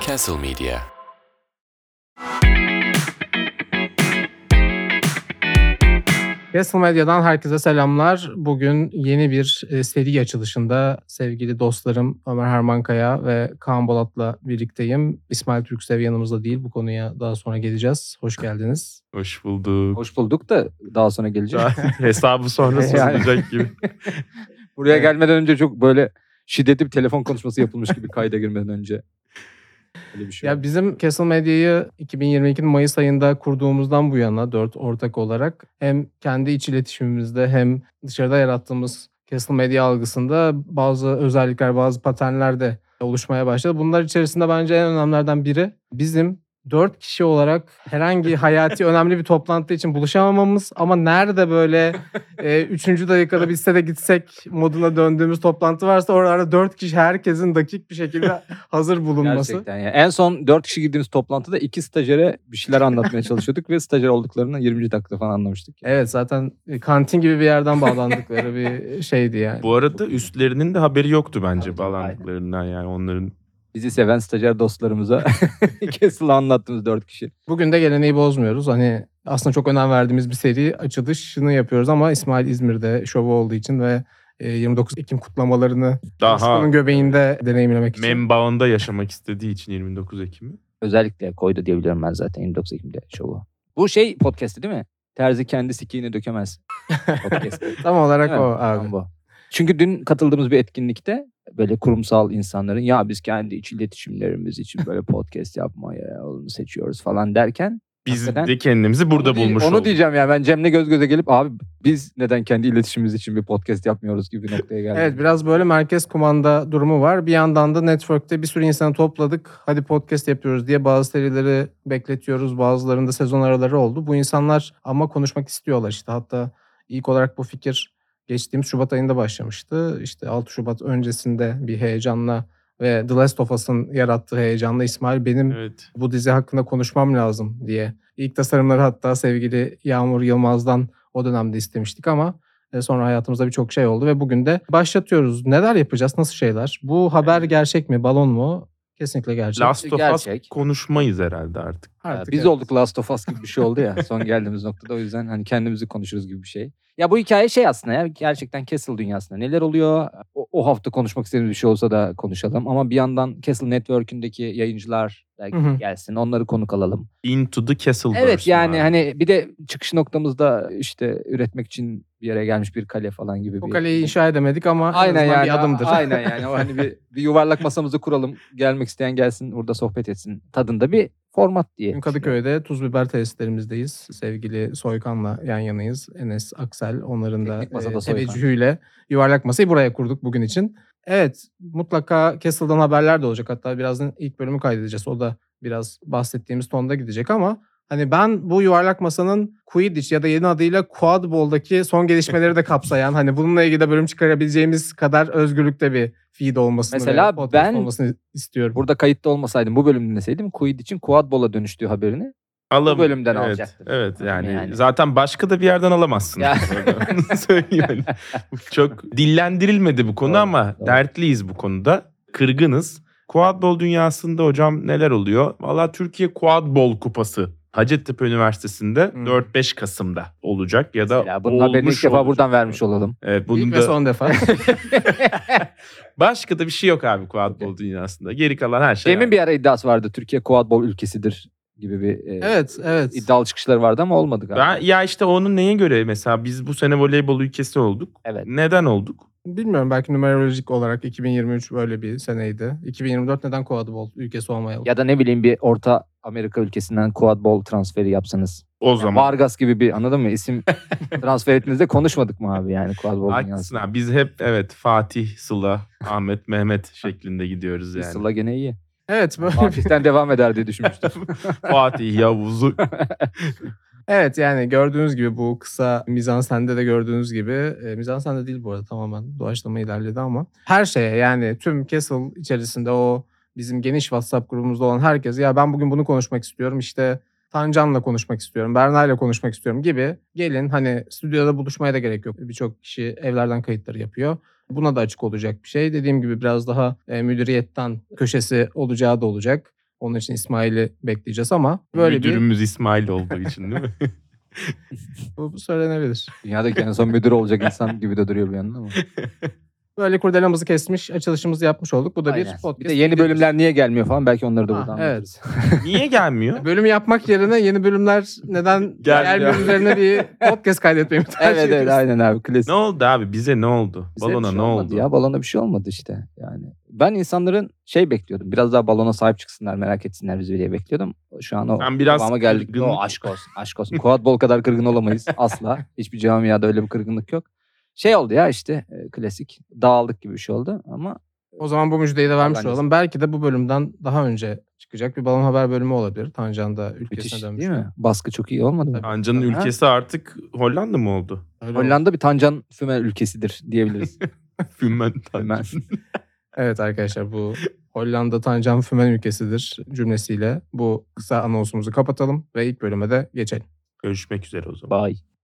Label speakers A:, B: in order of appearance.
A: Castle Media.
B: Castle Medya'dan herkese selamlar. Bugün yeni bir e, seri açılışında sevgili dostlarım Ömer Hermankaya ve Kaan Bolat'la birlikteyim. İsmail Türksev yanımızda değil. Bu konuya daha sonra geleceğiz. Hoş geldiniz.
C: Hoş bulduk.
D: Hoş bulduk da daha sonra geleceğiz.
C: Hesabı sonra
D: Yani.
C: sorulacak gibi.
D: Buraya
B: Evet.
D: gelmeden önce çok böyle şiddetli bir telefon konuşması yapılmış gibi kayda girmeden önce. Öyle bir şey.
B: Ya bizim Castle Medya'yı 2022'nin Mayıs ayında kurduğumuzdan bu yana dört ortak olarak hem kendi iç iletişimimizde hem dışarıda yarattığımız Castle Medya algısında bazı özellikler, bazı paternler de oluşmaya başladı. Bunlar içerisinde bence en önemlilerden biri bizim dört kişi olarak herhangi hayati önemli bir toplantı için buluşamamamız ama nerede böyle e, üçüncü dakikada bitse de gitsek moduna döndüğümüz toplantı varsa oralarda dört kişi herkesin dakik bir şekilde hazır bulunması.
D: Gerçekten ya. En son 4 kişi girdiğimiz toplantıda iki stajyere bir şeyler anlatmaya çalışıyorduk ve stajyer olduklarını 20. dakikada falan anlamıştık. Yani.
B: Evet zaten e, kantin gibi bir yerden bağlandıkları bir e, şeydi yani.
C: Bu arada üstlerinin de haberi yoktu bence
D: Tabii,
C: bağlandıklarından yani onların.
D: Bizi seven stajyer dostlarımıza Castle'ı anlattığımız 4 kişi.
B: Bugün de geleneği bozmuyoruz. Hani aslında çok önem verdiğimiz bir seri açılışını yapıyoruz ama İsmail İzmir'de şovu olduğu için ve e, 29 Ekim kutlamalarını
C: Daha
B: Aslan'ın göbeğinde deneyimlemek için.
C: Membağında yaşamak istediği için 29 Ekim'i.
D: Özellikle koydu diyebiliyorum ben zaten 29 Ekim'de şovu. Bu şey podcast'i değil mi? Terzi kendi sikiğini dökemez. Podcast.
B: Tam olarak
D: Değil
B: o
D: mi?
B: abi.
D: Tam bu. Çünkü dün katıldığımız bir etkinlikte böyle kurumsal insanların ya biz kendi iç iletişimlerimiz için böyle podcast yapmaya yolunu seçiyoruz falan derken
C: Biz
D: Hakikaten.
C: de kendimizi burada
D: onu, di-
C: bulmuş
D: onu
C: olduk.
D: diyeceğim yani ben Cem'le göz göze gelip abi biz neden kendi iletişimimiz için bir podcast yapmıyoruz gibi bir noktaya geldim.
B: Evet biraz böyle merkez kumanda durumu var. Bir yandan da network'te bir sürü insanı topladık. Hadi podcast yapıyoruz diye bazı serileri bekletiyoruz. Bazılarında sezon araları oldu. Bu insanlar ama konuşmak istiyorlar işte. Hatta ilk olarak bu fikir geçtiğimiz Şubat ayında başlamıştı. İşte 6 Şubat öncesinde bir heyecanla ve The Last of Us'ın yarattığı heyecanla İsmail benim
C: Evet.
B: bu dizi hakkında konuşmam lazım diye. İlk tasarımları hatta sevgili Yağmur Yılmaz'dan o dönemde istemiştik ama e, sonra hayatımızda birçok şey oldu ve bugün de başlatıyoruz. Neler yapacağız? Nasıl şeyler? Bu haber gerçek mi? Balon mu? Kesinlikle gerçek.
C: Last of Us
D: Gerçek.
C: konuşmayız herhalde artık.
D: Ya
B: Artık
D: biz
B: evet.
D: olduk Last of Us gibi bir şey oldu ya son geldiğimiz noktada o yüzden hani kendimizi konuşuruz gibi bir şey. Ya bu hikaye şey aslında ya gerçekten Castle dünyasında neler oluyor? O, o hafta konuşmak istediğimiz bir şey olsa da konuşalım ama bir yandan Castle Network'ündeki yayıncılar da
B: Hı hı.
D: gelsin onları konuk alalım.
C: Into the Castle
D: Evet
C: version
D: yani
C: abi.
D: hani bir de çıkış noktamızda işte üretmek için bir yere gelmiş bir kale falan gibi.
B: Bu
D: bir-
B: kaleyi inşa edemedik ama
D: Aynen
B: en azından
D: yani.
B: bir adımdır.
D: Aynen yani. O hani bir, bir yuvarlak masamızı kuralım. Gelmek isteyen gelsin burada sohbet etsin. Tadında bir format diye.
B: Bugün Kadıköy'de tuz biber tesislerimizdeyiz. Sevgili Soykan'la yan yanayız. Enes Aksel onların da
D: Teknik masada
B: e,
D: Soykan.
B: teveccühüyle yuvarlak masayı buraya kurduk bugün için. Evet mutlaka Castle'dan haberler de olacak. Hatta birazdan ilk bölümü kaydedeceğiz. O da biraz bahsettiğimiz tonda gidecek ama hani ben bu yuvarlak masanın Quidditch ya da yeni adıyla Quad Ball'daki son gelişmeleri de kapsayan hani bununla ilgili de bölüm çıkarabileceğimiz kadar özgürlükte bir feed olmasını ve
D: Mesela
B: podcast
D: ben-
B: olmasını istiyorum.
D: Burada kayıtta olmasaydım bu bölümü dinleseydim Kuid için Kuad Bola dönüştüğü haberini.
C: Alam-
D: bu bölümden
C: evet,
D: alacaktım.
C: Evet yani,
D: Yani.
C: zaten başka da bir yerden alamazsın.
D: Ya.
C: Onu söyleyeyim. Yani Çok dillendirilmedi bu konu
D: Doğru,
C: ama
D: doğru.
C: dertliyiz bu konuda. Kırgınız. Quadbol dünyasında hocam neler oluyor? Valla Türkiye Quadbol Kupası Hacettepe Üniversitesi'nde
B: Hmm.
C: 4-5 Kasım'da olacak ya da
D: Ya bunun haberini ilk
C: olmuş Şey
D: defa
C: olacak.
D: buradan vermiş olalım.
C: Evet,
B: İlk
C: bunun
B: ve
C: da
B: son defa.
C: başka da bir şey yok abi Quadbol dünyasında. Geri kalan her şey.
D: Cem'in bir ara iddiası vardı. Türkiye Kuad Bol ülkesidir gibi bir e,
B: evet evet.
D: iddialı çıkışları vardı ama olmadı galiba.
C: ben, ya işte onun neye göre mesela biz bu sene voleybol ülkesi olduk.
D: Evet.
C: Neden olduk?
B: Bilmiyorum belki numerolojik olarak 2023 böyle bir seneydi. 2024 neden Quadball ülkesi olmayalım?
D: Ya da ne bileyim bir Orta Amerika ülkesinden Quad Ball transferi yapsanız.
C: O
D: Yani
C: zaman.
D: Vargas gibi bir anladın mı? İsim transfer ettiğinizde konuşmadık mı abi yani Quad Ball
C: Haklısın abi. Biz hep evet Fatih, Sıla, Ahmet, Mehmet şeklinde gidiyoruz yani.
D: Sıla gene iyi.
B: Evet böyle bir-
D: Fatih'ten devam eder diye düşünmüştüm.
C: Fatih, Yavuz'u.
B: evet yani gördüğünüz gibi bu kısa mizansende de gördüğünüz gibi e, mizansende değil bu arada tamamen doğaçlama ilerledi ama her şeye yani tüm Castle içerisinde o bizim geniş WhatsApp grubumuzda olan herkes ya ben bugün bunu konuşmak istiyorum işte Tancan'la konuşmak istiyorum, Berna'yla konuşmak istiyorum gibi gelin hani stüdyoda buluşmaya da gerek yok. Birçok kişi evlerden kayıtları yapıyor. Buna da açık olacak bir şey. Dediğim gibi biraz daha e, müdüriyetten köşesi olacağı da olacak. Onun için İsmail'i bekleyeceğiz ama böyle bir
C: Müdürümüz İsmail olduğu için değil mi?
B: bu, bu söylenebilir.
D: Dünyadaki en son müdür olacak insan gibi de duruyor bir yandan ama.
B: Böyle kurdelamızı kesmiş, açılışımızı yapmış olduk. Bu da
D: Aynen.
B: bir podcast.
D: Bir de yeni bölümler niye gelmiyor falan belki onları da
B: Ha,
D: buradan
B: evet.
D: anlatırız.
C: Niye gelmiyor?
B: Bölüm yapmak yerine yeni bölümler neden
C: Gel-
B: diğer
C: gel.
B: bölümlerine bir podcast kaydetmeyi mi tercih
D: evet evet
B: ediyorsun?
D: aynen abi klasik.
C: ne oldu abi? Bize ne oldu?
D: Bize bir
C: Balona
D: şey
C: ne
D: olmadı
C: oldu?
D: Ya balona bir şey olmadı işte yani. Ben insanların şey bekliyordum. Biraz daha balona sahip çıksınlar, merak etsinler bizi diye bekliyordum. Şu an o
C: Ben biraz
D: kıvama geldik.
C: kırgınlık-
D: No, aşk olsun, aşk olsun. Kuat bol kadar kırgın olamayız asla. Hiçbir camiada öyle bir kırgınlık yok. Şey oldu ya işte e, klasik dağıldık gibi bir şey oldu ama
B: O zaman bu müjdeyi de vermiş
D: Bence-
B: olalım. Belki de bu bölümden daha önce çıkacak bir balon haber bölümü olabilir. Tancan da ülkesine
D: müthiş
B: dönmüş.
D: değil mi? Baskı çok iyi olmadı mı?
B: Tabii.
C: Ancanın
D: Ha?
C: ülkesi artık Hollanda mı oldu?
B: Öyle oldu.
D: Hollanda bir tancan füme ülkesidir diyebiliriz.
C: Fümen
D: Fümen.
B: Evet arkadaşlar bu Hollanda Tancan Fümen ülkesidir cümlesiyle bu kısa anonsumuzu kapatalım ve ilk bölüme de geçelim.
C: Görüşmek üzere o zaman.
D: Bay.